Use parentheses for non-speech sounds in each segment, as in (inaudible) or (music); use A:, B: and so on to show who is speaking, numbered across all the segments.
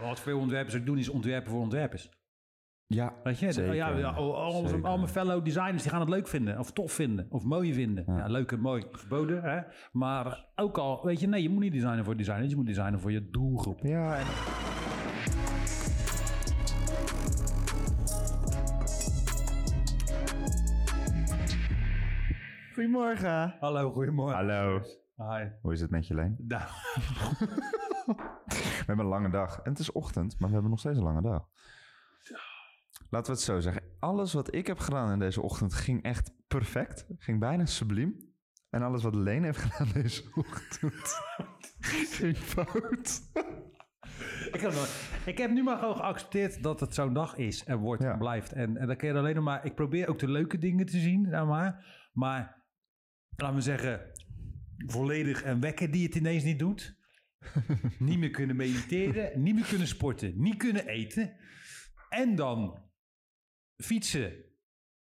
A: wat veel ontwerpers ook doen, is ontwerpen voor ontwerpers.
B: Ja,
A: Weet je, oh
B: zeker.
A: ja, ja, al, al onze,
B: Zeker.
A: al mijn fellow designers die gaan het leuk vinden, of tof vinden, of mooi vinden. Ja, leuk en mooi geboden, hè? Maar ook al, weet je, nee, je moet niet designen voor designers, je moet designen voor je doelgroep.
B: Ja, en-
C: Goedemorgen.
A: Hallo, goedemorgen.
B: Hallo,
A: Hi.
B: hoe is het met je, Leen? (laughs)
A: Nou,
B: We hebben een lange dag. En het is ochtend, maar we hebben nog steeds een lange dag. Laten we het zo zeggen. Alles wat ik heb gedaan in deze ochtend ging echt perfect. Ging bijna subliem. En alles wat Leen heeft gedaan deze ochtend (laughs) ging fout.
A: ik, heb nog- ik heb nu maar gewoon geaccepteerd dat het zo'n dag is en wordt
B: Ja.
A: en blijft. En, en dan kun je er alleen nog maar... Ik probeer ook de leuke dingen te zien, zeg maar. Maar, laten we zeggen, volledig en wekker die het ineens niet doet. niet meer kunnen mediteren, niet meer kunnen sporten, niet kunnen eten. En dan fietsen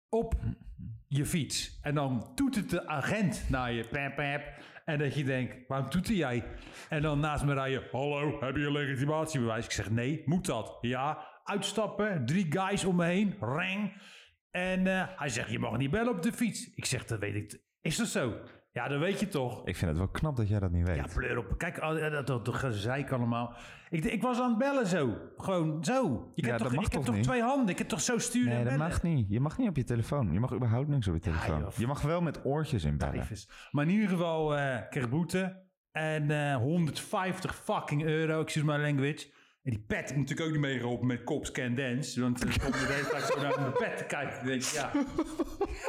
A: op je fiets. En dan toetert de agent naar je. Pep, pep. En dat je denkt, waarom toeter jij? En dan naast me rijden. Hallo, heb je een legitimatiebewijs? Ik zeg, nee, moet dat? Ja. Uitstappen, drie guys om me heen. Reng. En eh, hij zegt, je mag niet bellen op de fiets. Ik zeg, dat weet ik. t- Is dat zo? Ja, dat weet je toch?
B: Ik vind het wel knap dat jij dat niet weet.
A: Ja, pleur op. Kijk, al- dat, dat, dat gezeik allemaal. Ik, ik was aan het bellen zo. Gewoon zo. Ik
B: Ja,
A: heb
B: dat
A: toch,
B: mag
A: ik heb
B: toch
A: toch
B: niet?
A: twee handen. Ik heb toch zo sturen
B: Nee,
A: en
B: dat
A: bellen.
B: mag niet. Je mag niet op je telefoon. Je mag überhaupt niks op je telefoon.
A: joh.
B: je mag wel met oortjes in bellen.
A: Tyfus. Maar in ieder geval eh, ik kreeg boete. En eh, 150 fucking euro, excuse my language. En die pet moet natuurlijk ook niet meegeholpen met Cops Can Dance. Want dan komt de hele tijd zo naar mijn pet te kijken. Ik denk, ja,
B: (laughs)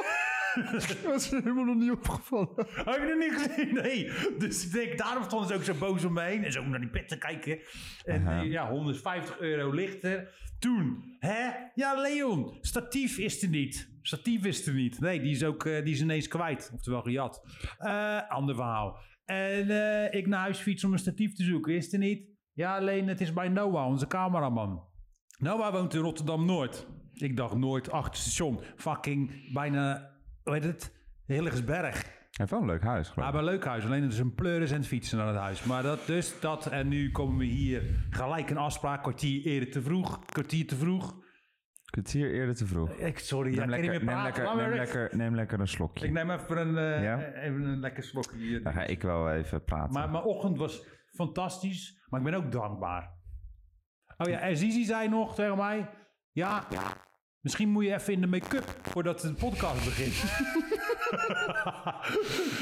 B: Dat is helemaal nog niet opgevallen.
A: heb je nog niet gezien? Nee. Dus ik denk, daarom stonden ze ook zo boos om me heen. En zo naar die pet te kijken. En
B: Aha.
A: eh, ja, 150 euro lichter. Toen, hè? Ja, Leon, statief is er niet. Statief is er niet. Nee, die is ook eh, die is ineens kwijt. Oftewel gejat. Eh, ander verhaal. En eh, ik naar huis fiets om een statief te zoeken. Is er niet? Ja, alleen het is bij Noah, onze cameraman. Noah woont in Rotterdam-Noord. Ik dacht Noord, achter station. Fucking bijna, hoe heet het? Hilligersberg.
B: Hij heeft wel een leuk huis,
A: Ja,
B: geloof ik.
A: maar leuk huis. Alleen het is Ah, een pleuris en het fietsen naar het huis. Maar dat, dus dat. En nu komen we hier gelijk een afspraak. Kwartier eerder te vroeg. Kwartier te vroeg.
B: Kwartier eerder te vroeg.
A: Ik, sorry, ja,
B: Neem
A: ik kan niet meer praten.
B: lekker, neem, lekker,
A: Laat me
B: neem,
A: rust.
B: lekker, neem lekker een slokje.
A: Ik neem even een, eh,
B: Ja?
A: even een lekker slokje. hier.
B: Dan ga ik wel even praten.
A: Maar mijn ochtend was fantastisch. Maar ik ben ook dankbaar. Oh ja, en Zizi zei nog tegen mij... Ja, misschien moet je even in de make-up voordat de podcast begint. (laughs)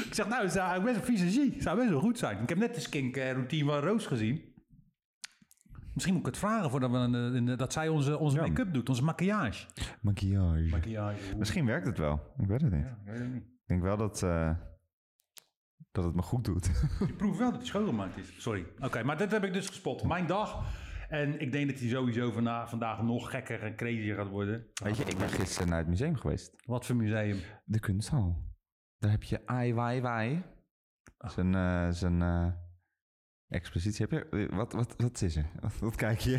A: ik zeg, nou, het zou eigenlijk best een visagie. Het zou best wel goed zijn. Ik heb net de skincare-routine van Roos gezien. Misschien moet ik het vragen voordat we, een- een- dat zij onze, onze
B: Ja.
A: make-up doet, onze maquillage.
B: Maquillage.
A: Maquillage.
B: Misschien werkt het wel. Ik weet het niet. Ik denk wel dat, eh, dat het me goed doet. (laughs)
A: Ik proef wel dat hij schoongemaakt is. Sorry. Oké, maar dit heb ik dus gespot. Mijn dag. En ik denk dat hij sowieso vana- vandaag nog gekker en crazier gaat worden.
B: Weet je, ik ben gisteren naar het museum geweest.
A: Wat voor museum?
B: De kunsthal. Daar heb je Ai Weiwei. Zijn, eh, zijn eh, expositie. Heb je, eh, wat, wat, wat is er? Wat, wat kijk je?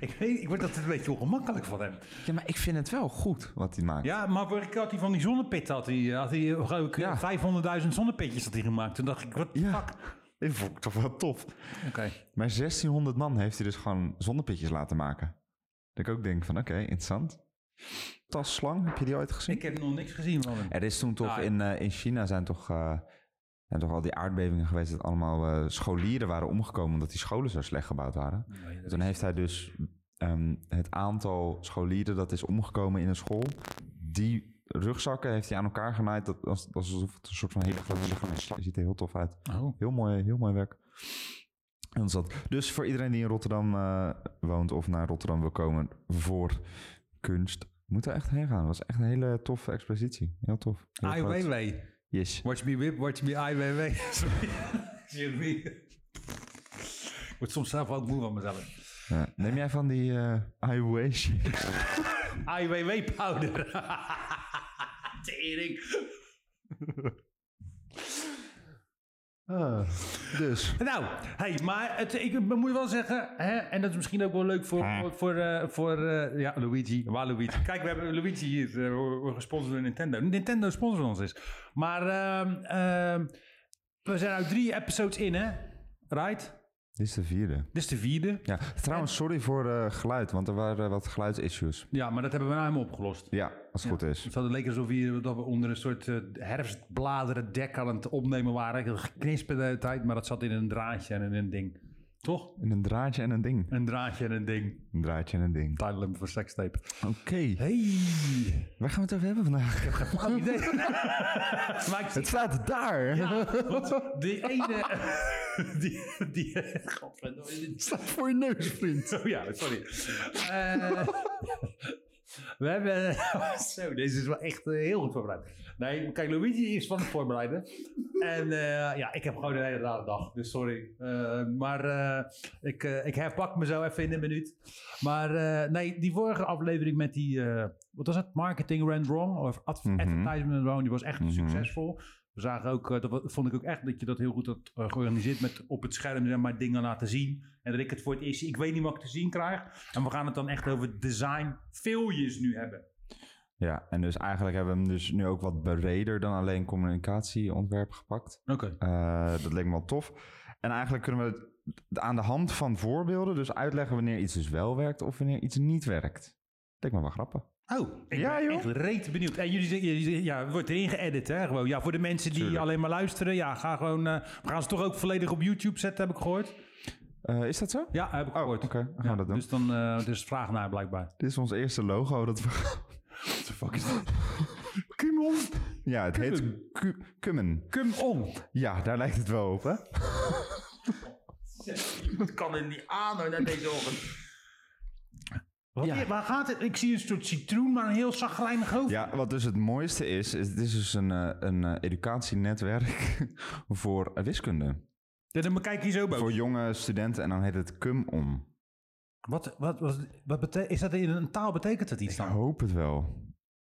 A: Ik, weet, ik word altijd een beetje ongemakkelijk van hem.
B: Ja, maar ik vind het wel goed wat hij maakt.
A: Ja, maar vorige keer had hij van die zonnepit, had hij, had hij eh, geloof ik,
B: Ja.
A: 500.000 zonnepitjes had hij gemaakt. Toen dacht ik, wat de
B: Ja.
A: fuck?
B: Dit vond ik toch wel tof.
A: Oké.
B: Maar 1600 man heeft hij dus gewoon zonnepitjes laten maken. Dat ik ook denk van, oké, interessant. Tasslang, heb je die ooit gezien?
A: Ik heb nog niks gezien van hem.
B: Er is toen toch
A: Nou,
B: in, eh, in China zijn toch, eh, zijn toch al die aardbevingen geweest... dat allemaal eh, scholieren waren omgekomen... omdat die scholen zo slecht gebouwd waren.
A: Nee, dat
B: Toen
A: is-
B: heeft hij dus ehm, het aantal scholieren dat is omgekomen in een school... die rugzakken heeft hij aan elkaar genaaid... Dat, als, alsof het een soort van hele grote zak is. Ziet er heel tof uit.
A: Oh.
B: Heel mooi, heel mooi werk. En dat is dat. Dus voor iedereen die in Rotterdam eh, woont of naar Rotterdam wil komen voor kunst, moet er echt heen gaan. Dat was echt een hele toffe expositie. Heel tof. Heel
A: Ai
B: groot.
A: Weiwei.
B: Yes.
A: Watch me whip, watch me Ai Weiwei. (laughs) Sorry. (laughs) Excuse me. Ik word soms zelf ook moe van mezelf.
B: Ja. Neem jij van die eh I wish?
A: IWW powder. Tering.
B: dus.
A: Nou, hey, maar het, ik moet wel zeggen, hè, en dat is misschien ook wel leuk voor,
B: Ah.
A: voor, eh, voor eh, ja, Luigi. Waar Luigi? (laughs) Kijk, we hebben Luigi hier, eh, we we gesponsord door Nintendo. Nintendo sponsort ons dus. is. Maar ehm, ehm, we zijn uit drie episodes in, hè? Right?
B: Dit is de vierde.
A: Dit is de vierde.
B: Ja, trouwens, sorry voor eh, geluid, want er waren wat geluidsissues.
A: Ja, maar dat hebben we nou helemaal opgelost.
B: Ja, als het goed is.
A: Het had leek alsof hier, dat we onder een soort eh, herfstbladeren dek aan het opnemen waren. Heel Geknispt de hele tijd, maar dat zat in een draadje en in een ding. Toch?
B: En een draadje en een ding.
A: Een draadje en een ding.
B: Een draadje en een ding.
A: Title hem voor sekstape.
B: Oké,
A: Hey,
B: waar gaan we het over hebben vandaag?
A: flauw idee. maar ik zie
B: Het staat daar. (laughs)
A: want die ene... (laughs) die, die, godverdomme.
B: Het staat voor je neus, vriend.
A: Oh ja, sorry. Eh, (laughs) we hebben... (laughs) zo, deze is wel echt eh, heel goed voorbereid. Nee, kijk, Luigi is van het voorbereiden. En eh, ja, ik heb gewoon een hele rare dag, dus sorry. Eh, maar eh, ik, eh, ik herpak me zo even in een minuut. Maar eh, nee, die vorige aflevering met die... eh, wat was het? Marketing went wrong? Of adv-
B: Mhm.
A: advertisement went wrong. Die was echt
B: Mhm.
A: succesvol. We zagen ook, eh, dat wa- vond ik ook echt dat je dat heel goed had eh, georganiseerd met op het scherm zeg maar dingen laten zien. En dat ik het voor het eerst, zie. ik weet niet wat ik te zien krijg. En we gaan het dan echt over design failures nu hebben.
B: Ja, en dus eigenlijk hebben we hem dus nu ook wat breder dan alleen communicatieontwerp gepakt.
A: Oké.
B: Eh, dat leek me wel tof. En eigenlijk kunnen we het aan de hand van voorbeelden dus uitleggen wanneer iets dus wel werkt of wanneer iets niet werkt. Leek me wel grappig.
A: Oh, ik
B: Ja,
A: ben
B: joh.
A: echt reet benieuwd. En jullie zeggen, jullie zeggen- ja, het wordt erin geëdit, hè? Gewoon. Ja, voor de mensen die
B: Tuurlijk.
A: alleen maar luisteren, ja, ga gewoon. eh, we gaan ze toch ook volledig op YouTube zetten, heb ik gehoord.
B: Eh, is dat zo?
A: Ja, heb ik
B: Oh,
A: gehoord.
B: oké. dan gaan
A: Ja,
B: we dat doen.
A: dus dan eh dus vraag naar blijkbaar.
B: Dit is ons eerste logo dat we
A: What the fuck is dit? Kumon.
B: Ja, het heet Ku- Kummen.
A: Cum on.
B: Ja, daar lijkt het wel op, hè?
A: Het kan er niet aan hoor, naar deze ochtend. Wat,
B: Ja.
A: Waar gaat het? Ik zie een soort citroen, maar een heel zagrijnig hoofd.
B: Ja, wat dus het mooiste is, is het is dus een, eh, een eh, educatienetwerk (laughs) voor eh, wiskunde.
A: Ja, dan kijk je zo boven.
B: Voor jonge studenten en dan heet het Kumom.
A: Wat, wat, wat, wat bete- is dat in een taal? Betekent dat iets
B: Ik
A: dan?
B: hoop het wel.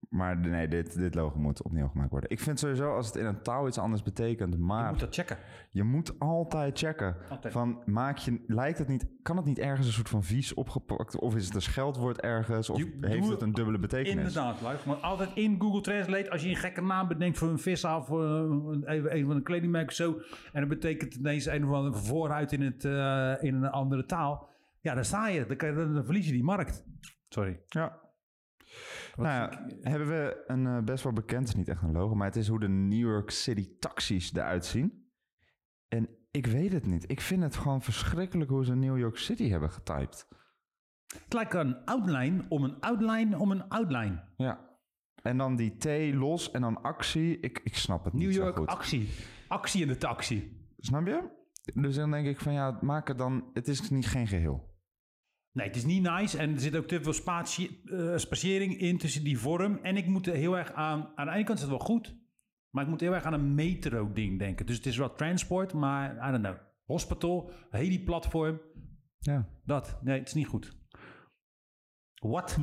B: Maar nee, dit, dit logo moet opnieuw gemaakt worden. Ik vind sowieso als het in een taal iets anders betekent,
A: Je
B: maar
A: moet dat checken.
B: je moet altijd checken.
A: Altijd.
B: Van, maak je, lijkt het niet, kan het niet ergens een soort van vies opgepakt? Of is het een scheldwoord ergens? Of
A: Je-
B: heeft
A: doe-
B: het een dubbele betekenis?
A: Inderdaad, luister. Maar altijd in Google Translate, als je een gekke naam bedenkt voor een vishaal, voor een, een, een van een kledingmerk of zo. En dat betekent ineens een of andere vooruit in, het, eh, in een andere taal. Ja, dan sta je. Dan, kan je- dan verlies je die markt. Sorry.
B: Ja.
A: Wat
B: nou, ja, hebben we een eh, best wel bekend, het is niet echt een logo, maar het is hoe de New York City taxis eruit zien. En ik weet het niet. Ik vind het gewoon verschrikkelijk hoe ze New York City hebben getypt.
A: Het lijkt een outline om een outline om een outline.
B: Ja. En dan die T los en dan actie. Ik, ik snap het
A: New
B: niet
A: York
B: zo goed.
A: actie. Actie in de taxi.
B: snap je? Dus dan denk ik van ja, maak het dan... Het is niet geen geheel.
A: Nee, het is niet nice en er zit ook te veel spatie, eh, spatiëring in tussen die vorm. En ik moet er heel erg aan... Aan de ene kant is het wel goed, maar ik moet heel erg aan een metro-ding denken. Dus het is wel transport, maar I don't know. Hospital, heli-platform,
B: Ja.
A: dat. Nee, het is niet goed. Wat?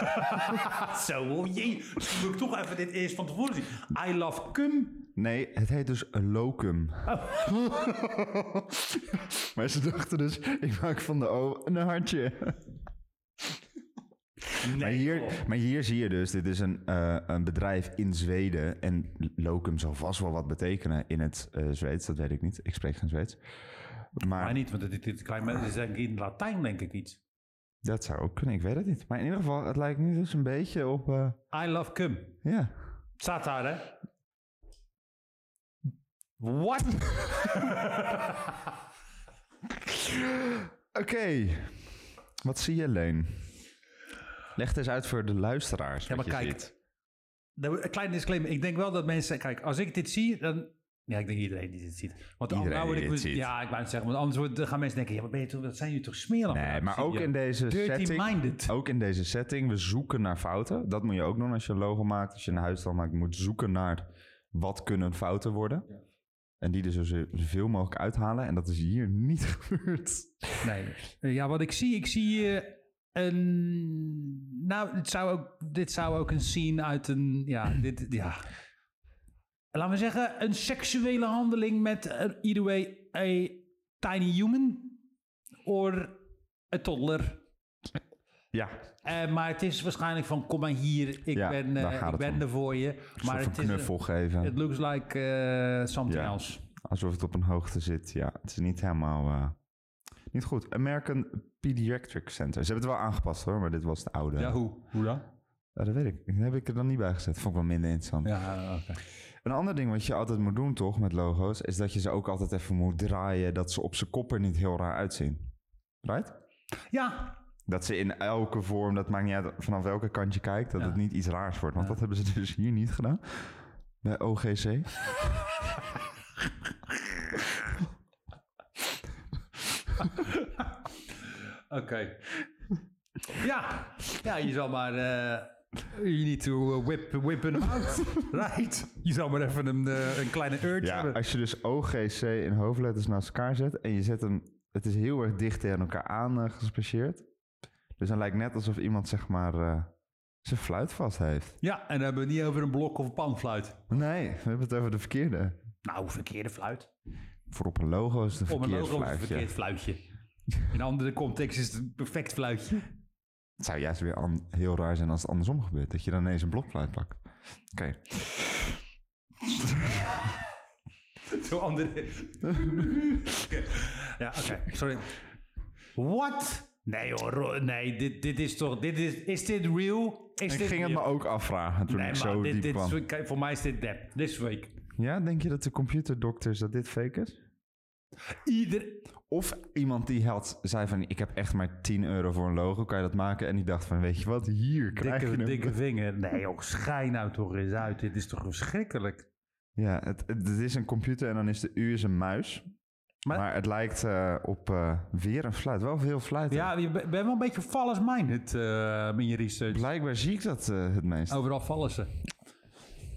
A: (laughs) Zo, oh jee. Misschien moet ik toch even dit eerst van tevoren zien. I love cum.
B: Nee, het heet dus locum. (laughs) maar ze dachten dus, ik maak van de O een hartje. Maar
A: Nee, joh.
B: hier, maar hier zie je dus, dit is een, eh, een bedrijf in Zweden. En locum zal vast wel wat betekenen in het eh, Zweeds, dat weet ik niet. Ik spreek geen Zweeds.
A: Maar
B: Maar
A: Ah, niet, want dit, dit, klein, dit is denk ik in Latijn denk ik iets.
B: dat zou ook kunnen, ik weet het niet. Maar in ieder geval, het lijkt nu dus een beetje op... eh,
A: I love cum.
B: ja,
A: Staat daar, hè? What?
B: oké. Wat zie je, Leen? Leg het eens uit voor de luisteraars.
A: Ja,
B: wat
A: maar
B: je
A: kijk.
B: ziet.
A: Nou, Een kleine disclaimer. Ik denk wel dat mensen... Kijk, als ik dit zie, dan... Ja, ik denk iedereen die dit ziet. Want
B: Iedereen
A: nou word
B: die
A: ik
B: dit
A: wel-
B: ziet.
A: Ja, ik wou het zeggen. Want anders wordt- dan gaan mensen denken... Ja, maar ben je toch, wat zijn jullie toch smerig?
B: Nee, maar ook in deze setting...
A: Dirty-minded.
B: Ook in deze setting, we zoeken naar fouten. Dat moet je ook doen als je een logo maakt. Als je een huisstijl maakt, je moet zoeken naar wat kunnen fouten worden. En die er zo ze- zoveel mogelijk uithalen. En dat is hier niet (laughs) gebeurd.
A: Nee. Eh, Ja, wat ik zie, ik zie eh, een... Nou, dit zou, ook, dit zou ook een scene uit een...
B: (clears throat)
A: Ja, dit... Ja. Laten we zeggen, een seksuele handeling met eh, either way a tiny human or a toddler.
B: Ja,
A: Eh, maar het is waarschijnlijk van, kom maar hier, ik
B: Ja,
A: ben, eh,
B: daar gaat
A: ik
B: het
A: ben
B: om.
A: er voor je.
B: maar
A: Maar
B: een
A: het is,
B: knuffel geven.
A: it looks like eh, something
B: Ja.
A: else.
B: Alsof het op een hoogte zit. Ja, het is niet helemaal... eh, Niet goed. American Pediatric Center. Ze hebben het wel aangepast hoor, maar dit was het oude.
A: Ja, hoe? Hoe dan?
B: Ah, dat weet ik. Dat heb ik er dan niet bij gezet. Vond ik wel minder interessant.
A: Ja, oké.
B: Een ander ding wat je altijd moet doen toch met logo's... is dat je ze ook altijd even moet draaien... dat ze op z'n kop er niet heel raar uitzien. Right?
A: Ja,
B: Dat ze in elke vorm, dat maakt niet uit vanaf welke kant je kijkt... dat
A: Ja.
B: het niet iets raars wordt. Want
A: Ja.
B: dat hebben ze (laughs) dus hier niet gedaan. Bij OGC.
A: oké. Ja. ja, je zal maar... eh you need to eh, whip, whip him
B: (laughs)
A: out. right. Je zal maar even een, eh, een kleine urge
B: Ja,
A: hebben.
B: als je dus OGC in hoofdletters naast elkaar zet en je zet hem, het is heel erg dicht tegen elkaar aan eh, gespecialiseerd. Dus dan lijkt net alsof iemand zeg maar eh, zijn fluit vast heeft.
A: Ja, en dan hebben we het niet over een blok of een panfluit.
B: Nee, we hebben het over de verkeerde.
A: Nou, verkeerde fluit.
B: Voor op een logo is het een
A: Om een
B: verkeerd
A: logo is het
B: fluitje.
A: een verkeerd fluitje. In andere context is het een perfect
B: (laughs)
A: fluitje.
B: Het zou juist weer an- heel raar zijn als het andersom gebeurt, dat je dan ineens een blokfluit pakt. Oké,
A: Zo andere... ja, oké. Sorry. What? Nee hoor, ro- nee, dit, dit is toch... Dit is, is dit real? Is
B: ik
A: dit
B: ging het me
A: real?
B: ook afvragen toen
A: Nee,
B: ik
A: maar
B: zo
A: dit,
B: diep
A: dit
B: kwam.
A: is- kijk, voor mij is dit dep. This week.
B: Ja, denk je dat de computerdokters dat dit fake is?
A: Ieder...
B: Of iemand die had, zei van, ik heb echt maar 10 euro voor een logo, kan je dat maken? En die dacht van, weet je wat, hier krijg je
A: Dikke,
B: hem.
A: dikke vinger. Nee joh, schijn nou toch eens uit. Dit is toch verschrikkelijk.
B: Ja, het, het, het is een computer en dan is de U is een muis. Maar,
A: Maar-
B: het lijkt eh, op eh, weer een fluit. Wel veel fluiten.
A: Ja, je bent wel een beetje fallers-minded eh in je research.
B: Blijkbaar zie ik dat eh, het meest.
A: Overal vallen ze.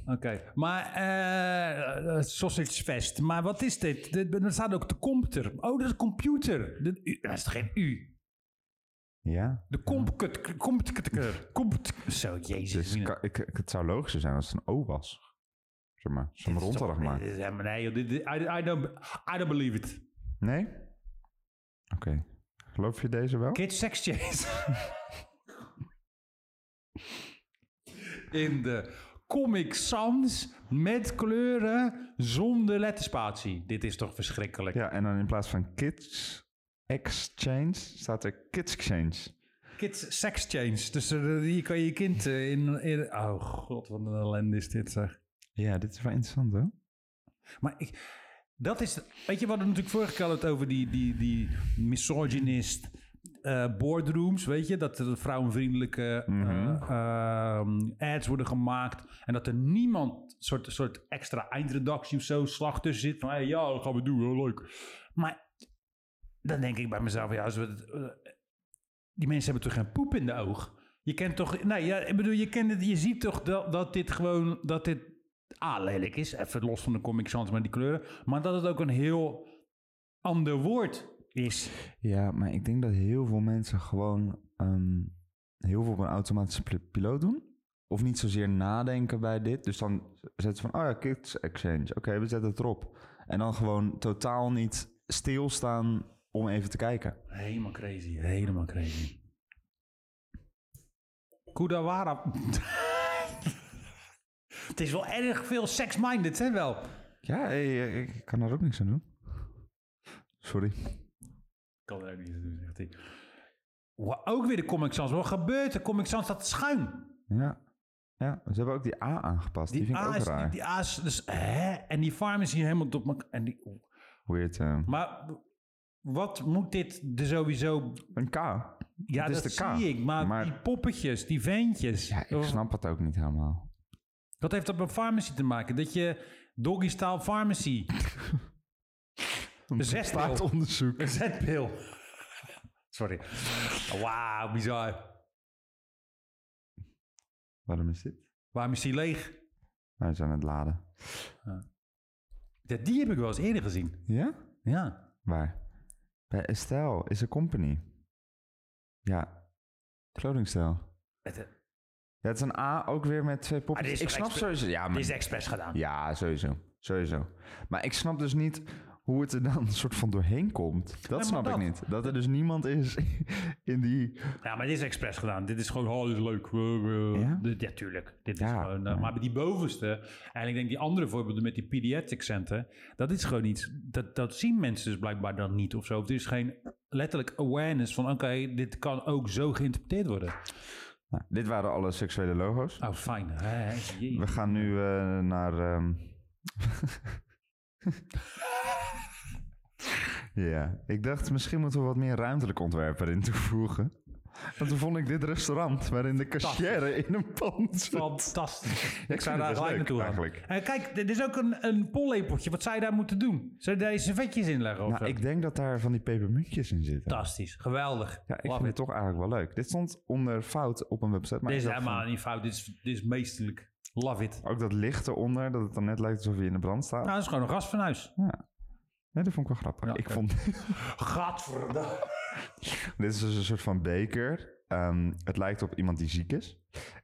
A: Oké, maar eh, eh, Sausage Fest. Maar wat is dit? dit? Er staat ook de computer. Oh, dat is een computer. De, u, dat is geen U.
B: Ja.
A: De computer. Computer. computer. Zo, jezus.
B: Dus ka- ik, ik- het zou logischer zijn als het een O was. Zeg maar, zo'n ronddag
A: maken.
B: maken.
A: Nee, joh, dit, dit- I, I don't, I don't believe it.
B: Nee? Oké. Geloof je deze wel?
A: Kids sex change. In de Comic Sans met kleuren zonder letterspatie. Dit is toch verschrikkelijk.
B: Ja, en dan in plaats van kids exchange staat er kids exchange.
A: Kids sex change. Dus er- hier kan je je kind eh, in, in- Oh god, wat een ellende is dit zeg.
B: Ja, dit is wel interessant hoor.
A: Maar ik... Dat is... Weet je, we hadden natuurlijk vorige keer al het over die, die, die misogynist eh, boardrooms, weet je? Dat er vrouwenvriendelijke eh,
B: Mhm.
A: ehm, ads worden gemaakt. En dat er niemand soort, soort extra eindredactie of zo slag tussen zit. Van, hey, ja, dat gaan we doen, heel leuk. Maar dan denk ik bij mezelf, ja, als we... het, eh, die mensen hebben toch geen poep in de oog? Je kent toch... Nee, ja, ik bedoel, je, kent het, je ziet toch dat, dat dit gewoon... Dat dit A, Ah, lelijk is. Even los van de Comic Sans met die kleuren. Maar dat het ook een heel ander woord is.
B: Ja, maar ik denk dat heel veel mensen gewoon ehm, heel veel op een automatische pil- piloot doen. Of niet zozeer nadenken bij dit. Dus dan zetten ze van, oh ja, Kids Exchange. Oké, we zetten het erop. En dan gewoon totaal niet stilstaan om even te kijken.
A: Helemaal crazy. Helemaal crazy. Kudawara. (laughs) het is wel erg veel sex-minded, hè wel?
B: Ja, hey, eh, ik kan daar ook niks aan doen. Sorry.
A: Kan er ook niet aan doen, zegt hij. Wa- Ook weer de Comic Sans. Wat gebeurt er? Comic Sans staat schuin.
B: Ja. ja, ze hebben ook die A aangepast. Die, vind ik
A: A
B: ook
A: is,
B: raar.
A: die, die A is dus, hè? En die farm is hier helemaal op elkaar. En die,
B: Weird. eh.
A: maar wat moet dit er sowieso
B: Een K.
A: Ja,
B: Het is
A: dat
B: de K,
A: zie ik. Maar,
B: maar-
A: die poppetjes, die ventjes. oh,
B: Ja, ik snap het ook niet helemaal.
A: Dat heeft dat met pharmacy te maken. Dat je doggy style
B: (laughs)
A: pharmacy. Een zetpil.
B: onderzoek.
A: Een zetpil. Sorry. Wauw, bizar.
B: Waarom is dit?
A: Waarom is die leeg?
B: Wij zijn aan het laden.
A: Ja, die heb ik wel eens eerder gezien.
B: Ja?
A: Ja.
B: Waar? Bij Estelle is een company. Ja, kledingstijl.
A: Het, eh,
B: Ja, het is een A ook weer met twee
A: Maar Ah, dit is
B: popjes. Ik
A: toch
B: snap
A: expres-
B: sowieso... Ja,
A: dit
B: maar,
A: is expres gedaan.
B: ja, sowieso. Sowieso. Maar ik snap dus niet hoe het er dan (laughs) een soort van doorheen komt. Dat
A: maar
B: snap ik
A: dat-
B: niet. Dat er dus niemand is (laughs) in die...
A: Ja, maar dit is expres gedaan. Dit is gewoon, oh, dit is leuk. Eh, eh.
B: Ja?
A: Dit- Ja, tuurlijk. Dit is
B: Ja.
A: gewoon, eh, maar die bovenste, en ik denk die andere voorbeelden met die pediatric center, dat is gewoon iets, dat, dat zien mensen dus blijkbaar dan niet of zo. Of er is geen letterlijk awareness van oké, dit kan ook zo geïnterpreteerd worden.
B: Nou, dit waren alle seksuele logo's.
A: Oh, fijn. Hè, hè, jee.
B: We gaan nu eh, naar. ehm, (laughs) ja, ik dacht misschien moeten we wat meer ruimtelijk ontwerp erin toevoegen. Want toen vond ik dit restaurant waarin de cashier in een pand zat.
A: Fantastisch.
B: (laughs) Ja,
A: ik zou daar
B: vind het
A: gelijk
B: best leuk,
A: naartoe gaan.
B: eigenlijk.
A: Eh, kijk, dit is ook een, een pollepeltje. Wat zou je daar moeten doen? Zou je daar je servetjes in leggen? Of
B: Nou,
A: zo?
B: ik denk dat daar van die pepermuntjes in zitten.
A: Fantastisch. Geweldig.
B: Ja, ik
A: Love
B: vind het
A: it.
B: toch eigenlijk wel leuk. Dit stond onder fout op een website. Maar
A: Dit
B: ik
A: is
B: dacht van-
A: helemaal niet fout. Dit is, dit is meesterlijk. Love it.
B: ook dat licht eronder, dat het dan net lijkt alsof je in de brand staat.
A: Nou, dat is gewoon een gast van huis.
B: Nee, dat vond ik wel grappig.
A: Ja,
B: ik
A: oké.
B: vond, (laughs)
A: Gadverdamme.
B: dit is dus een soort van beker. Ehm, het lijkt op iemand die ziek is.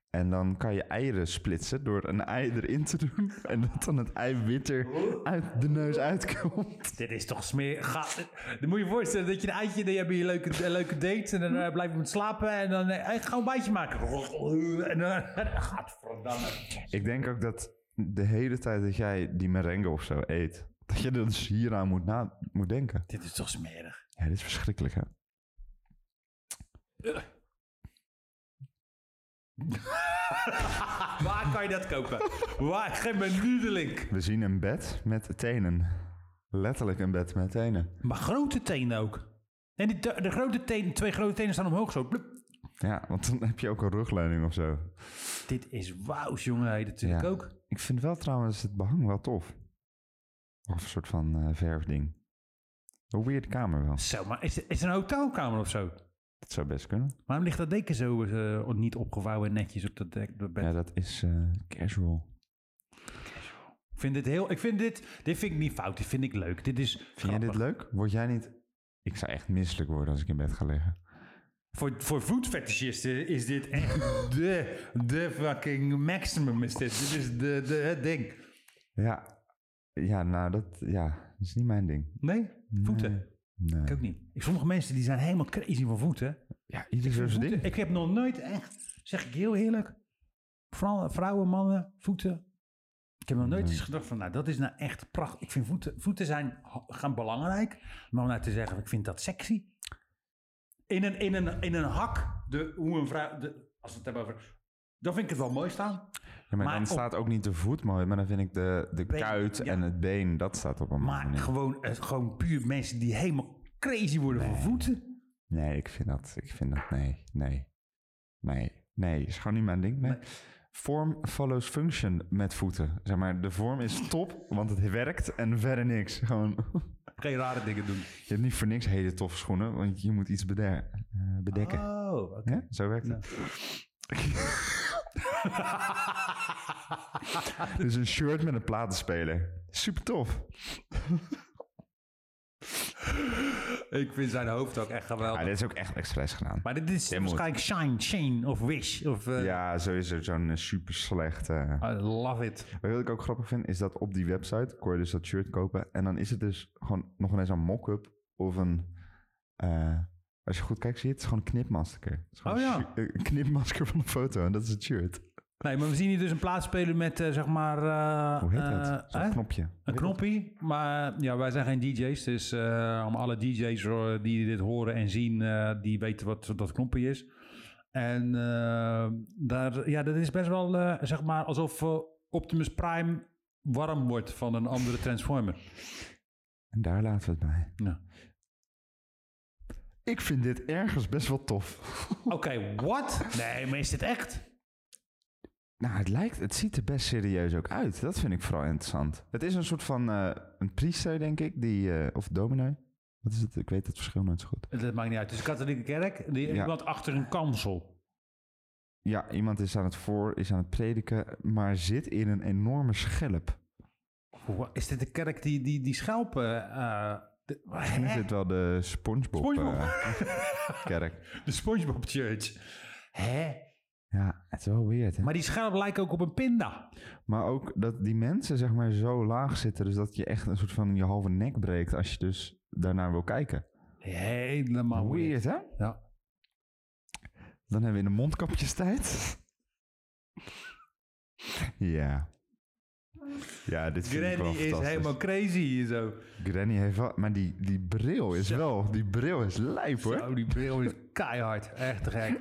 B: En dan kan je eieren splitsen door een ei erin te doen. (laughs) En dat dan het ei witter uit de neus uitkomt.
A: Dit is toch smeer... Ga... Dan moet je je voorstellen dat je een eitje... Dan heb je een leuke, een leuke date en dan eh, blijf je met slapen. En dan eh, hey, ga een bijtje maken. En dan... (laughs) Gadverdamme.
B: Ik denk ook dat de hele tijd dat jij die merengue of zo eet... dat je er dus hieraan moet, na, moet denken.
A: Dit is toch smerig.
B: Ja, dit is verschrikkelijk, hè?
A: Waar kan je dat kopen? Waar? Geef me nu de link.
B: We zien een bed met tenen. Letterlijk een bed met tenen.
A: Maar grote tenen ook. En die, te- de grote tenen, twee grote tenen staan omhoog zo. Blup.
B: Ja, want dan heb je ook een rugleuning of zo.
A: Dit is wauw, jongen. Hey, dat vind ik
B: Ja.
A: ook.
B: Ik vind wel trouwens het behang wel tof. Of een soort van eh, verfding. Een weird kamer wel.
A: Zo, maar is, is het een hotelkamer of zo?
B: Dat zou best kunnen.
A: Waarom ligt dat deken zo eh, niet opgevouwen en netjes op dat dek? dat bed?
B: Ja, dat is eh, casual.
A: Ik vind dit heel... Ik vind dit... Dit vind ik niet fout. Dit vind ik leuk. Dit is
B: Vind jij
A: grappig.
B: dit leuk? Word jij niet... Ik zou echt misselijk worden als ik in bed ga liggen.
A: Voor, voor voetfetischisten is dit echt de, de fucking maximum is dit. Dit is de, de, het ding.
B: Ja, ja nou dat... Ja, dat is niet mijn ding.
A: Nee? Voeten?
B: Nee. Nee.
A: Ik ook niet. Sommige mensen die zijn helemaal crazy van voeten.
B: Ja, ieder zijn
A: Voeten.
B: ding.
A: Ik heb nog nooit echt, zeg ik heel eerlijk, vooral vrouwen, mannen, voeten. Ik heb nog nooit eens gedacht van, nou, dat is nou echt prachtig. Ik vind voeten, voeten zijn ha- gaan belangrijk. Maar om nou te zeggen, ik vind dat sexy. In een, in een, in een hak, de, hoe een vrouw, de, als we het hebben over, dan vind ik het wel mooi staan.
B: Ja, maar,
A: Maar
B: dan
A: op-
B: staat ook niet de voet mooi, maar dan vind ik de, de
A: Been,
B: kuit
A: ja.
B: en het been, dat staat op een mooie
A: Maar
B: manier.
A: gewoon, eh, gewoon puur mensen die helemaal crazy worden van voeten.
B: Nee, ik vind dat, ik vind dat, nee, nee, nee, nee, is gewoon niet mijn ding, nee. Form follows function met voeten. Zeg maar, de vorm is top, want het werkt en verder niks. Gewoon,
A: Geen rare dingen doen.
B: je hebt niet voor niks hele toffe schoenen, want je moet iets beder- eh, bedekken.
A: Oh, oké.
B: Ja, zo werkt het. (laughs) dus een shirt met een platenspeler. Super tof.
A: Ik vind zijn hoofd ook echt geweldig.
B: Ah, dit is ook echt expres gedaan.
A: Maar dit is
B: Dit moet.
A: waarschijnlijk Shine, Shane of Wish. Of, eh, Ah.
B: Ja, sowieso zo'n eh, super slechte...
A: I love it.
B: Maar Wat ik ook grappig vind, is dat op die website kon je dus dat shirt kopen. En dan is het dus gewoon nog ineens een mock-up of een... eh, als je goed kijkt, zie je het, het is gewoon een knipmasker. Het is gewoon
A: Oh
B: een
A: ja.
B: shi- eh, Een knipmasker van een foto en dat is het shirt.
A: Nee, maar we zien hier dus een plaatsspeler met, eh, zeg maar... eh,
B: Hoe heet
A: eh,
B: dat? Zo'n
A: hè?
B: knopje. Hoe
A: Een
B: heet
A: knoppie. Maar eh, ja, wij zijn geen DJ's. Dus eh, om alle DJ's hoor- die dit horen en zien, eh, die weten wat dat knoppie is. En eh, daar, ja, dat is best wel, eh, zeg maar, alsof eh, Optimus Prime warm wordt van een andere Transformer.
B: dat? En daar laten we het bij.
A: Ja.
B: Ik vind dit ergens best wel tof.
A: Oké, wat? Nee, maar is dit echt?
B: Nou, het lijkt, het ziet er best serieus ook uit. Dat vind ik vooral interessant. Het is een soort van eh, een priester, denk ik, die, eh, of dominee. Wat is het? Ik weet het verschil nooit zo goed.
A: Dat maakt niet uit. Het is een katholieke kerk. Die,
B: Ja.
A: Iemand achter een kansel.
B: Ja, iemand is aan het voor, is aan het prediken, maar zit in een enorme schelp.
A: Wa- Is dit de kerk die, die, die schelpen... eh de,
B: En is
A: Hè?
B: dit wel de SpongeBob,
A: SpongeBob.
B: eh, kerk?
A: (laughs) de Spongebob Church. Hè?
B: Ja, het is wel weird. Hè? Maar,
A: Maar die schelpen lijken ook op een pinda.
B: ook dat die mensen zeg maar zo laag zitten, dus dat je echt een soort van je halve nek breekt als je dus daarnaar wil kijken.
A: Helemaal weird.
B: weird, hè?
A: Ja.
B: Dan hebben we in de mondkapjes tijd. ja. Ja, dit vind ik wel
A: Granny is
B: fantastisch.
A: helemaal crazy hier zo.
B: Granny heeft wel... Maar die, die bril is wel... Die bril is lijp, hoor.
A: Zo, die bril is keihard. Echt te (laughs) gek.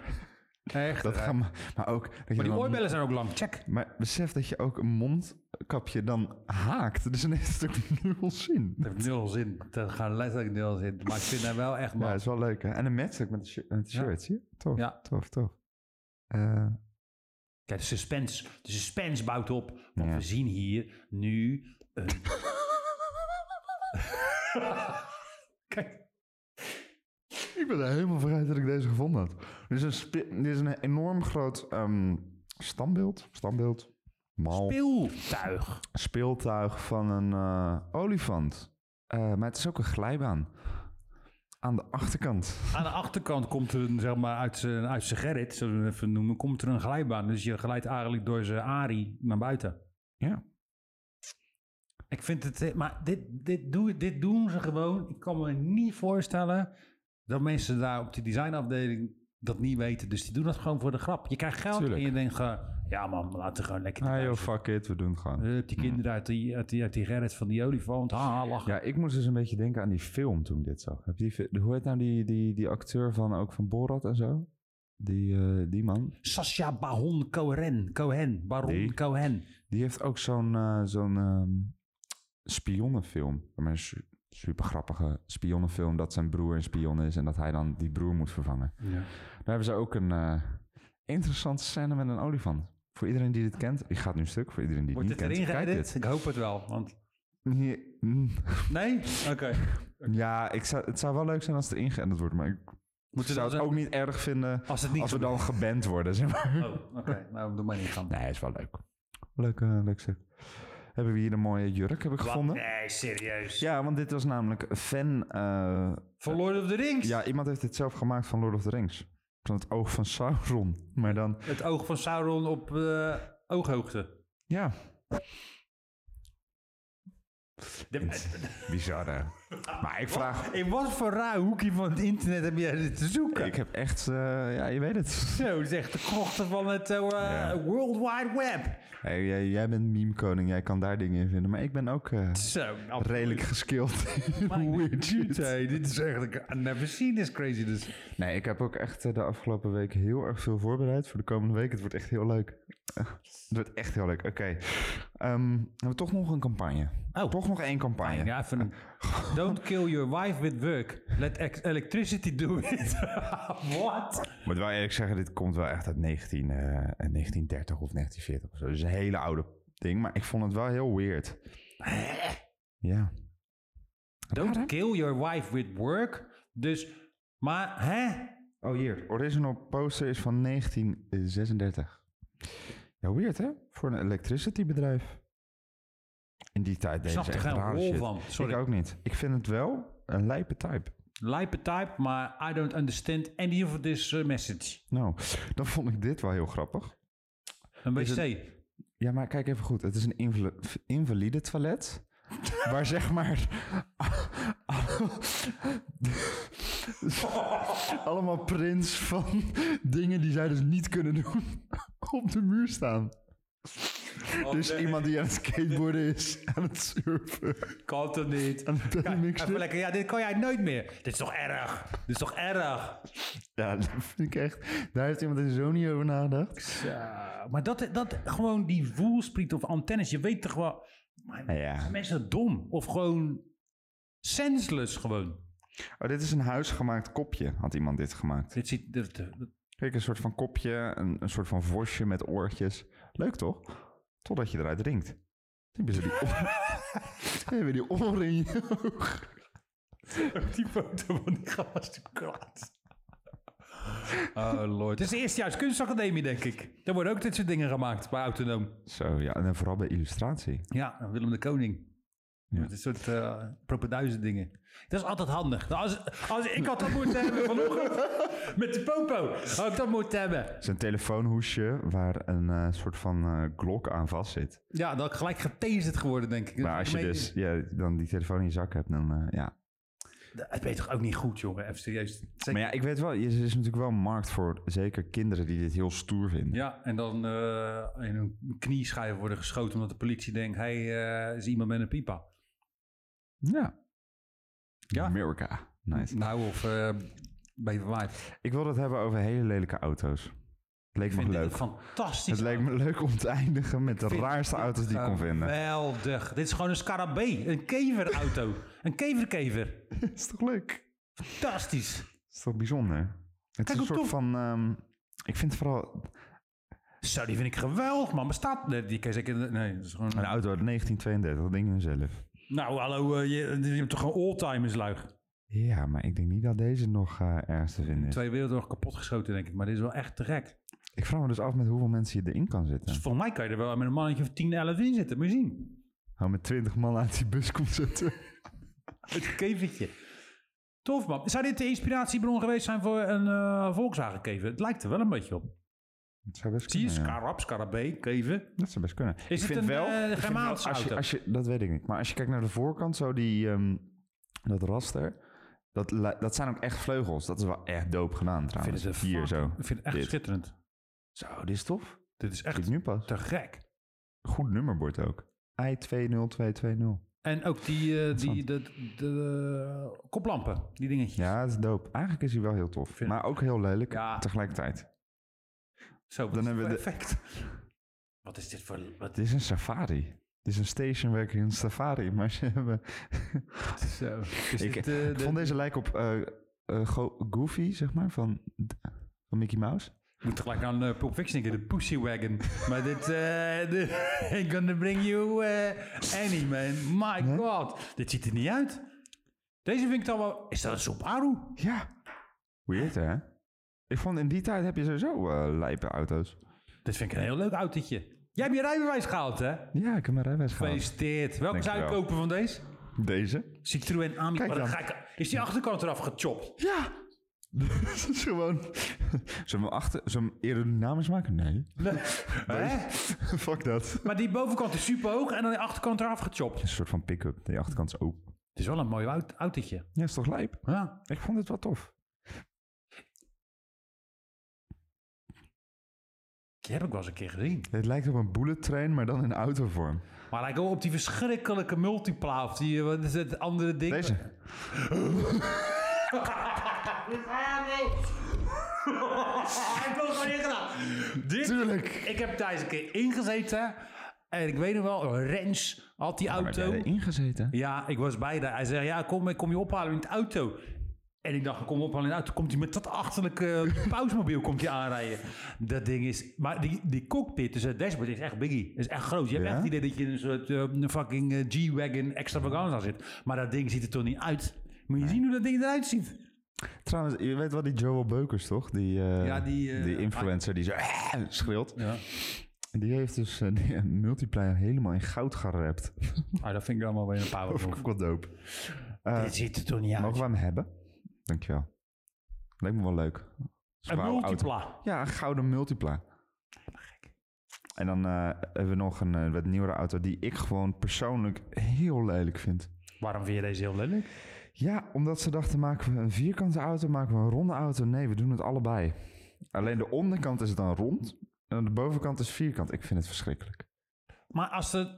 A: Echt te
B: Dat
A: gek.
B: gaan, maar- maar ook... dat je
A: Maar die
B: dan-
A: oorbellen zijn ook lang. Check.
B: Maar besef dat je ook een mondkapje dan haakt. Dus dan heeft het ook nul zin.
A: Dat heeft nul zin. Dat gaat letterlijk nul zin. Maar ik vind hem wel echt
B: Ja,
A: man.
B: dat is wel leuk. Hè? En een match ook met een shi- met een
A: Ja.
B: shirt, zie je? Tof,
A: Ja.
B: tof, tof. Eh,
A: Kijk, de suspense, de suspense bouwt op. Want
B: Ja.
A: we zien hier nu een... Kijk,
B: ik ben er helemaal vooruit dat ik deze gevonden had. Er is een, spe- er is een enorm groot ehm standbeeld. Standbeeld. Mal.
A: speeltuig.
B: speeltuig van een eh, olifant. Eh, maar het is ook een glijbaan. Aan de achterkant.
A: Aan de achterkant komt er, een, zeg maar, uit zijn uit zijn gerrit, zullen we het even noemen, komt er een glijbaan. Dus je glijdt eigenlijk door zijn ari naar buiten.
B: Ja.
A: Ik vind het... eh, Maar dit, dit, doen, dit doen ze gewoon. Ik kan me niet voorstellen dat mensen daar op die designafdeling dat niet weten. Dus die doen dat gewoon voor de grap. Je krijgt geld
B: Tuurlijk.
A: en je denkt... eh, Ja man, laten we gewoon lekker...
B: Ah
A: erbij
B: joh,
A: zitten.
B: fuck it, we doen het gewoon.
A: Hup, die kinderen uit die, uit die, uit die gerrit van die olifant. Haha, lachen.
B: Ja, ik moest dus een beetje denken aan die film toen ik dit zag. Heb je die, fi- hoe heet nou die, die, die acteur van ook van Borat en zo? Die, eh, die man.
A: Sasha Baron Cohen. Cohen. Baron
B: Nee.
A: Cohen.
B: Die heeft ook zo'n eh, zo'n ehm, spionnenfilm. Maar Een su- super grappige spionnenfilm dat zijn broer een spion is en dat hij dan die broer moet vervangen. Daar hebben ze ook een eh, interessante scène met een olifant. Voor iedereen die dit kent, ik ga het nu stuk. Voor iedereen die het
A: Wordt
B: niet
A: het
B: kent,
A: erin
B: kijk
A: geëdit?
B: dit.
A: Ik hoop het wel. Want...
B: Nee, mm,
A: Nee? Oké.
B: Ja, ik zou, het zou wel leuk zijn als het erin geëdit wordt, maar ik
A: Moeten we
B: zou het
A: dat
B: ook niet erg vinden
A: Als het niet
B: als we
A: zo...
B: dan geband worden, zeg maar.
A: Oh, oké. Nou, doe maar niet gaan.
B: Nee, is wel leuk. Leuk, eh, leuk stuk. Hebben we hier een mooie jurk heb ik gevonden.
A: Nee, serieus.
B: Ja, want dit was namelijk een fan... eh,
A: Van Lord of the Rings.
B: ja, iemand heeft dit zelf gemaakt van Lord of the Rings. Van het oog van Sauron. Maar dan...
A: Het oog van Sauron op eh, ooghoogte.
B: Ja,
A: De-
B: bizar hè. Maar ik vraag...
A: In wat voor raar hoekje van het internet heb jij dit te zoeken?
B: Ik heb echt... eh, ja, je weet het.
A: Zo, zegt de krochten van het eh,
B: Ja.
A: World Wide Web.
B: Hey, jij, jij bent meme-koning. Jij kan daar dingen in vinden. Maar ik ben ook eh,
A: Zo, nou,
B: redelijk geskild. (laughs) in
A: my
B: weird shit.
A: dude, hey, dit is eigenlijk never seen this crazy. Dus.
B: Nee, ik heb ook echt eh, de afgelopen week heel erg veel voorbereid voor de komende week. Het wordt echt heel leuk. Eh, Het wordt echt heel leuk. Oké. Ehm, we hebben toch nog een campagne.
A: Oh.
B: Toch nog één campagne.
A: Ja, even een- Don't kill your wife with work. Let ex- electricity do it. (laughs) What?
B: Ik moet wel eerlijk zeggen, dit komt wel echt uit 19, eh, 1930 of 1940 of zo. Dus een hele oude ding, maar ik vond het wel heel weird. Ja.
A: Don't
B: Raar, hè?
A: kill your wife with work. Dus, maar, hè?
B: Oh, hier. Original poster is van 1936. Ja, weird hè? Voor een electricity bedrijf. In die tijd
A: Ik
B: deden
A: snap
B: ze
A: er
B: echt
A: geen
B: rare
A: rol
B: shit.
A: van. Sorry.
B: Ik ook niet. Ik vind het wel een lijpe type.
A: Lijpe type, maar I don't understand any of this eh, message.
B: Nou, dan vond ik dit wel heel grappig.
A: Een
B: Is
A: wc.
B: Ja, maar kijk even goed. Het is een invali- invalide toilet. waar zeg maar... allemaal prints van dingen die zij dus niet kunnen doen (laughs) op de muur staan. dus iemand die aan het skateboarden is, aan het surfen,
A: kan toch niet?
B: aan het
A: Even
B: BMX'en.
A: lekker, ja, dit kan jij nooit meer. Dit is toch erg? Dit is toch erg?
B: Ja, dat vind ik echt... Daar heeft iemand er zo niet over nagedacht.
A: Zo, Eh, maar dat, dat, gewoon die voelspriet of antennes, je weet toch wel... Maar
B: Ja.
A: Mensen zijn dom. Of gewoon senseless gewoon.
B: Oh, dit is een huisgemaakt kopje, had iemand dit gemaakt.
A: Dit ziet... dit- dit-
B: Kijk, een soort van kopje, een, een soort van vosje met oortjes. Leuk toch? Totdat je eruit drinkt. Dan hebben ze die,
A: (laughs)
B: (laughs) oor... Dan hebben die oren in je oog.
A: die foto van die gast die kwaad. Oh lord. Het is de eerste juist kunstacademie, denk ik. Daar worden ook dit soort dingen gemaakt bij Autonoom.
B: Zo, ja, en dan vooral bij illustratie.
A: Ja, Willem de Koning.
B: Ja.
A: Met Dit soort eh propenduizen dingen. Dat is altijd handig. Nou, Als, als, ik had dat moeten (laughs) hebben vanochtend. Met de popo. Had ik dat moeten hebben.
B: Het is een telefoonhoesje waar een eh, soort van eh glok aan vast zit.
A: Ja, dan had ik gelijk getaserd geworden, denk ik.
B: dus- Maar als je dus ja, dan die telefoon in je zak hebt, dan eh, ja.
A: Het weet toch ook niet goed, jongen? Even serieus. Zeker-
B: Maar ja, ik weet wel, er is natuurlijk wel een markt voor zeker kinderen die dit heel stoer vinden.
A: Ja, en dan eh, in hun knieschijven worden geschoten omdat de politie denkt... hij hey, eh, is iemand met een pipa.
B: Ja.
A: Ja.
B: America. Nice.
A: Nou, of eh ben je verwaaid.
B: Ik wil het hebben over hele lelijke auto's. Het leek
A: Ik
B: me
A: vind dit
B: leuk.
A: een fantastisch.
B: Het leek me leuk om te eindigen met de
A: vind
B: raarste auto's die ik kon vinden.
A: Geweldig. Dit is gewoon een scarabee. Een keverauto. (laughs) een keverkever.
B: is toch leuk?
A: Fantastisch.
B: Is toch bijzonder? Het
A: Kijk
B: is
A: hoe
B: een soort
A: tof.
B: van... ehm, ik vind vooral
A: Zo, die vind ik geweldig, man. Bestaat... Nee, die kan je zeker... Nee, dat is gewoon...
B: een
A: Nou,
B: auto uit 1932, dat denk je zelf.
A: hallo, eh, je, je hebt toch gewoon all-timers luig.
B: Ja, maar ik denk niet dat deze nog eh ergens te vinden is.
A: Twee wereldoorlog kapot geschoten, denk ik. Maar dit is wel echt te gek.
B: Ik vraag me dus af met hoeveel mensen je erin kan
A: Dus
B: zitten.
A: volgens mij kan je er wel met een mannetje of 10, 11 in zitten. Moet je zien.
B: Hou met 20 man uit die bus komt (laughs) zitten.
A: Het kevertje. Tof, man. Zou dit de inspiratiebron geweest zijn voor een eh Volkswagen kever? Het lijkt er wel een beetje op.
B: Dat zou best
A: Zie je?
B: kunnen, ja.
A: Scarab, scarabee, kever.
B: Dat zou best kunnen. ik
A: het
B: vind
A: een,
B: wel,
A: eh,
B: ik vind wel,
A: Germaanse
B: als je,
A: auto?
B: als je, Dat weet ik niet. Maar als je kijkt naar de voorkant, zo die, ehm, dat raster. Dat, li- dat zijn ook echt vleugels. Dat is wel echt dope gedaan
A: Ik vind
B: trouwens.
A: het een
B: Hier
A: fuck-
B: zo.
A: Ik vind het echt
B: Dit.
A: schitterend.
B: Zo, dit is tof.
A: Dit is
B: Echt
A: echt
B: nu pas.
A: te gek.
B: Goed nummerbord ook. I20220.
A: En ook die, eh, die de, de, de eh, koplampen, die dingetjes.
B: Ja, dat is dope. Eigenlijk is hij wel heel tof.
A: Vind-
B: Maar ook heel lelijk
A: Ja.
B: tegelijkertijd.
A: Zo, wat
B: Dan
A: is dit
B: hebben
A: voor
B: we
A: effect. Wat is dit voor... Wat
B: Dit is een safari. Dit is een stationwerker in een safari. Maar ze (laughs) hebben...
A: is, zo. Is
B: Ik-
A: dit, eh, de-
B: Ik vond deze lijk op eh, eh, Go- Goofy, zeg maar, van, van Mickey Mouse.
A: Ik moet gelijk aan eh, Pulp Fiction denken, de Pussy
B: (laughs)
A: Wagon. maar dit... eh de- (laughs) I'm gonna bring you eh any, man. My
B: Nee?
A: god. Dit ziet er niet uit. Deze vind ik dan wel... Is dat een Subaru?
B: Ja. Weird, hè? Ik vond in die tijd heb je sowieso eh lijpe auto's.
A: Dit vind ik een heel leuk autootje. Jij hebt je rijbewijs gehaald, hè?
B: Ja, ik heb mijn rijbewijs gehad.
A: Gefeliciteerd. Welke zou je
B: Dankjewel.
A: kopen van deze?
B: Deze?
A: Citroën Ami.
B: Kijk
A: Maar dan
B: dan.
A: ga ik- Is die achterkant eraf gechopt?
B: (laughs) Ja. Dat is gewoon... Zullen we hem achter... Zullen we hem aerodynamisch maken? Nee.
A: (laughs) Hè?
B: Fuck dat.
A: Maar die bovenkant is super hoog en dan de achterkant eraf gechopt.
B: Een soort van pick-up. De achterkant is open.
A: Het is wel een mooi au- autootje.
B: Ja, is toch lijp?
A: Ja.
B: Ik vond het wel tof.
A: Die heb ik wel eens een keer gezien.
B: Het lijkt op een bullet train, maar dan in autovorm.
A: Maar lijkt wel op die verschrikkelijke multipla of die eh, wat is het andere ding. (laughs)
B: Deze.
A: ik heb het gewoon ingedaan. Dit,
B: Tuurlijk.
A: ik heb daar eens een keer ingezeten. En ik weet nog wel, Rens had die
B: Heb jij
A: auto.
B: erin gezeten?
A: Ja, ik was bij daar. Hij zei, ja, kom, ik kom je ophalen in de auto. En ik dacht, ik kom ophalen in de auto. Komt hij met dat achterlijke eh, (laughs) pausmobiel komt hij aanrijden. Dat ding is... Maar die, die cockpit, dus het dashboard, is echt biggie. is echt groot. Je hebt
B: Ja?
A: echt het idee dat je in een soort eh, een fucking eh, G-Wagon extravaganza zit. Maar dat ding ziet er toch niet uit. Moet je zien hoe dat ding eruit ziet.
B: Trouwens, je weet wel die Joel Beukers, toch? Die, eh,
A: Ja, die, eh,
B: influencer die zo eh, schreeuwt.
A: Ja.
B: Die heeft dus eh, die multiplayer helemaal in goud gerapt.
A: Ah, dat vind ik allemaal weer een paar
B: Dat vond ik ook wel dope.
A: (laughs)
B: Eh,
A: Dit ziet er toch niet
B: mogen
A: uit.
B: we hem hebben? Dankjewel. Lijkt me wel leuk.
A: Een
B: Wauw, auto.
A: multipla.
B: Ja, een gouden multipla. En dan eh, hebben we nog een eh, wat nieuwere auto die ik gewoon persoonlijk heel lelijk vind.
A: Waarom vind je deze heel lelijk?
B: Ja, omdat ze dachten, maken we een vierkante auto, maken we een ronde auto? Nee, we doen het allebei. Alleen de onderkant is dan rond en de bovenkant is vierkant. Ik vind het verschrikkelijk.
A: Maar als het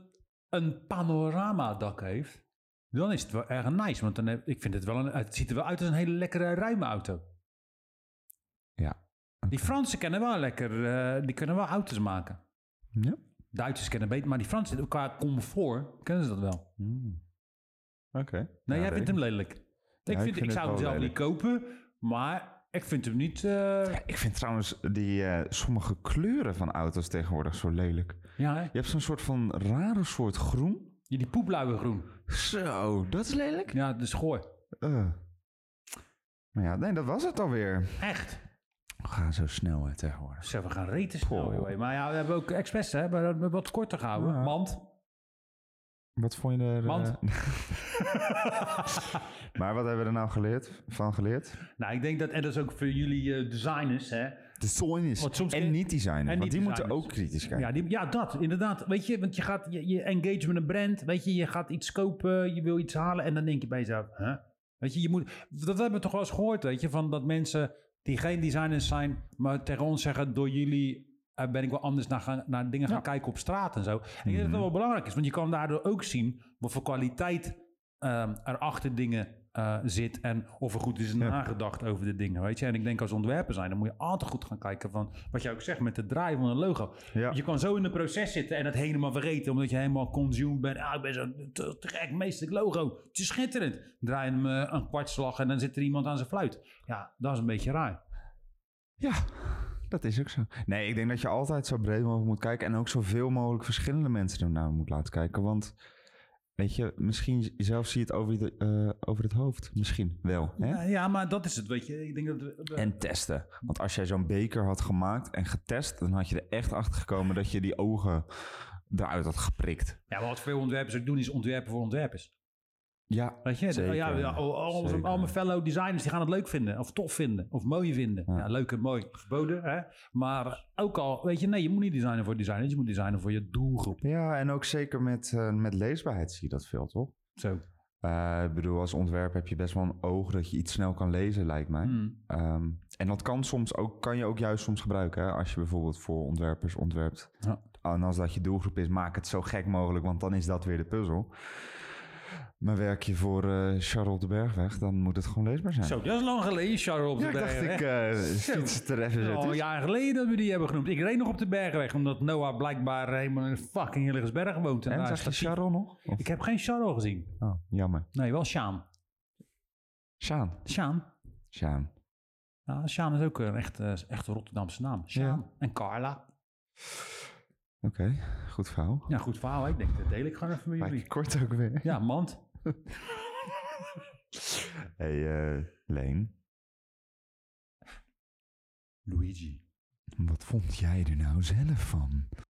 A: een panoramadak heeft, dan is het wel erg nice. Want dan heb, ik vind het wel een, het ziet er wel uit als een hele lekkere ruime auto.
B: Ja.
A: Die Fransen kennen wel lekker, eh, die kunnen wel auto's maken.
B: Ja?
A: Duitsers kennen beter, maar die Fransen qua comfort kennen ze dat wel.
B: Oké.
A: Nee,
B: Ja,
A: jij vindt
B: weet
A: hem lelijk. Ik,
B: ik
A: vind, ik,
B: vind het
A: zou hem
B: wel
A: zelf niet kopen, maar ik vind hem niet. eh,
B: ik. Ik vind trouwens die eh, sommige kleuren van auto's tegenwoordig zo lelijk.
A: ja, hè?
B: Je hebt zo'n soort van rare soort groen.
A: die poepluiwe groen.
B: Zo, dat is lelijk.
A: Ja, dat is gooi.
B: Eh. Maar ja, nee, dat was het alweer.
A: Echt.
B: We gaan zo snel hè, tegenwoordig.
A: Zo, we gaan reten snel,
B: Goh.
A: joh. Maar ja, we hebben ook expres, hè, maar dat hebben we wat korter gehouden.
B: Ja.
A: Want
B: Wat vond je er... eh, (laughs)
A: Want?
B: maar wat hebben we er nou geleerd, van geleerd?
A: Nou, ik denk dat, en dat is ook voor jullie eh, designers, hè.
B: Designers.
A: Want soms
B: en
A: kun-
B: niet designers.
A: en
B: want
A: niet
B: die
A: designers.
B: moeten ook kritisch kijken.
A: Ja, die, ja, dat, inderdaad. Weet je, want je gaat, je, je engage met een brand, weet je, je gaat iets kopen, je wil iets halen en dan denk je bij jezelf, hè, Weet je, je moet, dat hebben we toch wel eens gehoord, weet je, van dat mensen die geen designers zijn, maar tegen ons zeggen, door jullie eh, ben ik wel anders naar, gaan, naar dingen gaan
B: Ja. Mhm.
A: kijken op straat en zo. En ik denk dat dat wel belangrijk is, want je kan daardoor ook zien wat voor kwaliteit ehm erachter dingen eh, zit en of er goed is
B: Ja.
A: nagedacht over de dingen, weet je. En ik denk als ontwerper zijn, dan moet je altijd goed gaan kijken van wat jij ook zegt met de draai van een logo.
B: Ja.
A: Je kan zo in een proces zitten en dat helemaal vergeten, omdat je helemaal consumed bent. Ah, ik ben zo te, te gek, meestelijk logo. Het is schitterend. Draai hem eh, een kwartslag en dan zit er iemand aan zijn fluit. Ja, dat is een beetje raar.
B: Ja, dat is ook zo. Nee, ik denk dat je altijd zo breed mogelijk moet kijken en ook zoveel mogelijk verschillende mensen ernaar moet laten kijken. Want weet je, misschien zelf zie je het over, de, eh, over het hoofd. Misschien wel. Hè?
A: Ja, ja, maar dat is het, weet je. Ik denk dat we- we-
B: En testen. Want als jij zo'n beker had gemaakt en getest, dan had je er echt achter gekomen dat je die ogen eruit had geprikt.
A: ja, maar wat veel ontwerpers ook doen, is ontwerpen voor ontwerpers.
B: Ja,
A: Weet je, de-
B: Zeker,
A: ja, ja, al, al-
B: zeker.
A: al mijn fellow designers die gaan het leuk vinden, of tof vinden, of mooi vinden. Ja,
B: Ja.
A: leuk en mooi, geboden. Hè? Maar ook al, weet je, nee, je moet niet designen voor designers, je moet designen voor je doelgroep.
B: ja en ook zeker met, eh, met leesbaarheid zie je dat veel, toch?
A: Zo.
B: Eh, ik bedoel, als ontwerp heb je best wel een oog dat je iets snel kan lezen, lijkt mij.
A: Hmm.
B: Ehm, en dat kan, soms ook, kan je ook juist soms gebruiken. Hè? Als je bijvoorbeeld voor ontwerpers ontwerpt.
A: Ja.
B: En als dat je doelgroep is, maak het zo gek mogelijk, want dan is dat weer de puzzel. Maar werk je voor eh, Charlotte de Bergweg, dan moet het gewoon leesbaar zijn.
A: Zo, dat is lang geleden, Charles op de
B: ja, ik eh,
A: berg.
B: dacht,
A: hè?
B: ik eh
A: Zo. Oh,
B: fiets het er even zo
A: al een
B: tussen.
A: jaar geleden dat we die hebben genoemd. Ik reed nog op de bergweg, omdat Noah blijkbaar helemaal in fucking Hilligersberg woont. En
B: En
A: daar
B: zag
A: is
B: je
A: dat-
B: Charlotte nog? Of-
A: Ik heb geen Charles gezien.
B: Oh, jammer.
A: Nee, wel Sjaan.
B: Sjaan.
A: Sjaan?
B: Sjaan.
A: Ja, Sjaan is ook een echt, eh, echt een Rotterdamse naam. Sjaan en Carla.
B: Oké, goed verhaal.
A: Ja, goed verhaal. hè? Ik denk, dat deel ik gewoon even met
B: Maar
A: jullie.
B: kort ook weer.
A: Ja, mand.
B: hey, eh, Leen,
A: Luigi.
B: wat vond jij er nou zelf van?